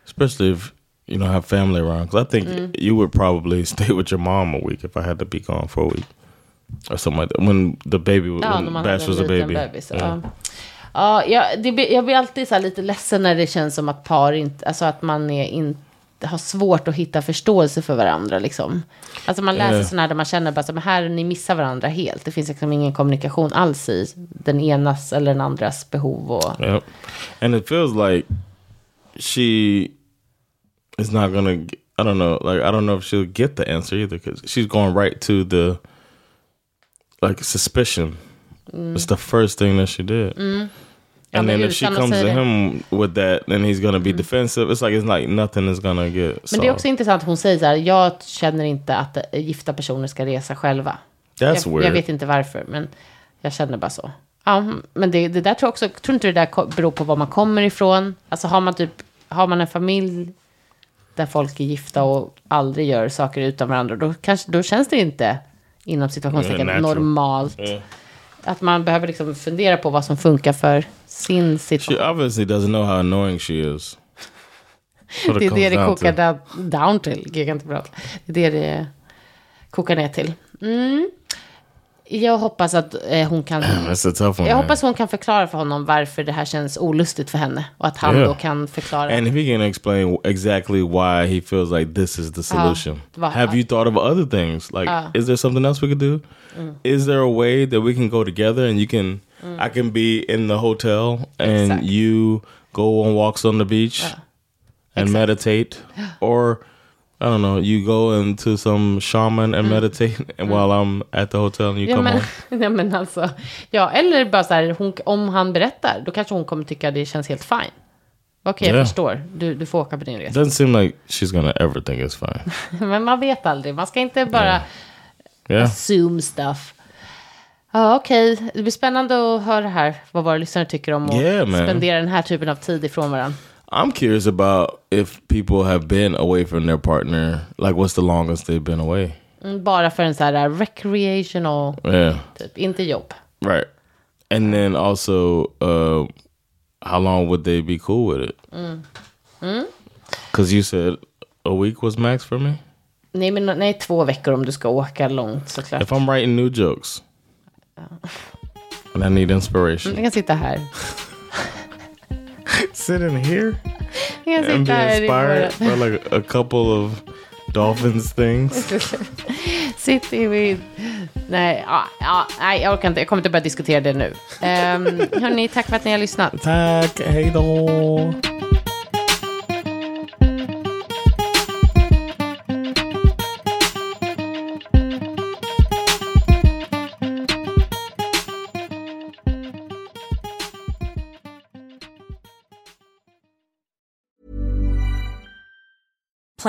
Speaker 2: especially if you know have family around. Because I think you would probably stay with your mom a week if I had to be gone for a week or something like that. When the baby,
Speaker 1: Ja, när
Speaker 2: when
Speaker 1: man
Speaker 2: Bash was
Speaker 1: hade
Speaker 2: a
Speaker 1: en liten
Speaker 2: baby.
Speaker 1: bebis.
Speaker 2: Yeah.
Speaker 1: Ja. Ja, jag, det, blir- jag blir alltid så här lite ledsen när det känns som att par inte, alltså att man är inte har svårt att hitta förståelse för varandra. Liksom. Alltså man läser
Speaker 2: Ja.
Speaker 1: sådana här där man känner bara så men här ni missar varandra helt. Det finns liksom ingen kommunikation alls i den enas eller den andras behov. Och,
Speaker 2: Yep. And it feels like she is not gonna. g- I don't know. Like I don't know if she'll get the answer either because she's going right to the like suspicion. It's the first thing that she did.
Speaker 1: Ja,
Speaker 2: And
Speaker 1: men
Speaker 2: then if
Speaker 1: utan
Speaker 2: she
Speaker 1: att
Speaker 2: comes
Speaker 1: säga
Speaker 2: to
Speaker 1: det.
Speaker 2: him with that, then he's gonna be defensive. It's like it's like nothing is gonna get
Speaker 1: men det är också
Speaker 2: solved.
Speaker 1: intressant, hon säger så här, jag känner inte att eh, gifta personer ska resa själva.
Speaker 2: That's
Speaker 1: jag,
Speaker 2: weird.
Speaker 1: jag vet inte varför, men jag känner bara så. Ja, men det, det där tror jag också, tror inte det där ko- beror på var man kommer ifrån. Alltså har man typ, har man en familj där folk är gifta och aldrig gör saker utan varandra, då, kanske, då känns det inte inom situationstecken
Speaker 2: Yeah, natural.
Speaker 1: normalt. Att man behöver liksom fundera på vad som funkar för sin
Speaker 2: She
Speaker 1: situation.
Speaker 2: obviously doesn't know how annoying she is. What
Speaker 1: Det är det
Speaker 2: comes
Speaker 1: det
Speaker 2: down
Speaker 1: kokar
Speaker 2: to.
Speaker 1: down, down till. Gud, jag kan inte prata. Det är det det kokar ner till. Mm. Jag hoppas att eh, hon kan...
Speaker 2: That's a tough one.
Speaker 1: Jag
Speaker 2: man.
Speaker 1: hoppas hon kan förklara för honom varför det här känns olustigt för henne. Och att han
Speaker 2: Ja.
Speaker 1: då kan förklara.
Speaker 2: And if he can explain exactly why he feels like this is the solution,
Speaker 1: Va-
Speaker 2: have you thought of other things? Like, is there something else we could do? Is there a way that we can go together and you can, I can be in the hotel and
Speaker 1: Exakt.
Speaker 2: you go on walks on the beach and meditate, or I don't know, you go into some shaman and meditate and while I'm at the hotel and you
Speaker 1: ja,
Speaker 2: come
Speaker 1: men,
Speaker 2: home.
Speaker 1: ja, men alltså, ja, eller bara så här, hon, om han berättar, då kanske hon kommer tycka det känns helt fine. Okej,
Speaker 2: Ja.
Speaker 1: jag förstår. Du, du får åka på din resa.
Speaker 2: Doesn't seem like she's gonna ever think it's fine.
Speaker 1: Men man vet aldrig. Man ska inte bara...
Speaker 2: Yeah.
Speaker 1: Zoom stuff. Ja, okej. Det blir spännande att höra här vad våra lyssnare tycker om att
Speaker 2: Yeah, man.
Speaker 1: spendera den här typen av tid ifrån varandra.
Speaker 2: I'm curious about if people have been away from their partner. Like, what's the longest they've been away?
Speaker 1: Mm, Bara för en så här recreational,
Speaker 2: Yeah,
Speaker 1: typ. Inte jobb.
Speaker 2: right. And then also, uh, how long would they be cool with it? Hmm? Because you said a week was max for me.
Speaker 1: Nej, men nej, två veckor om du ska åka långt såklart.
Speaker 2: If I'm writing new jokes, And I need inspiration.
Speaker 1: Jag kan sitta här.
Speaker 2: Sit in here
Speaker 1: Jag kan
Speaker 2: and be
Speaker 1: sitta här i
Speaker 2: inspired
Speaker 1: vårat-
Speaker 2: by like a couple of dolphins things.
Speaker 1: Sitt i min... Nej, ja, ja, nej, jag orkar inte. Jag kommer inte börja diskutera det nu. Um, hörni, tack för att ni har lyssnat.
Speaker 2: Tack, hej då.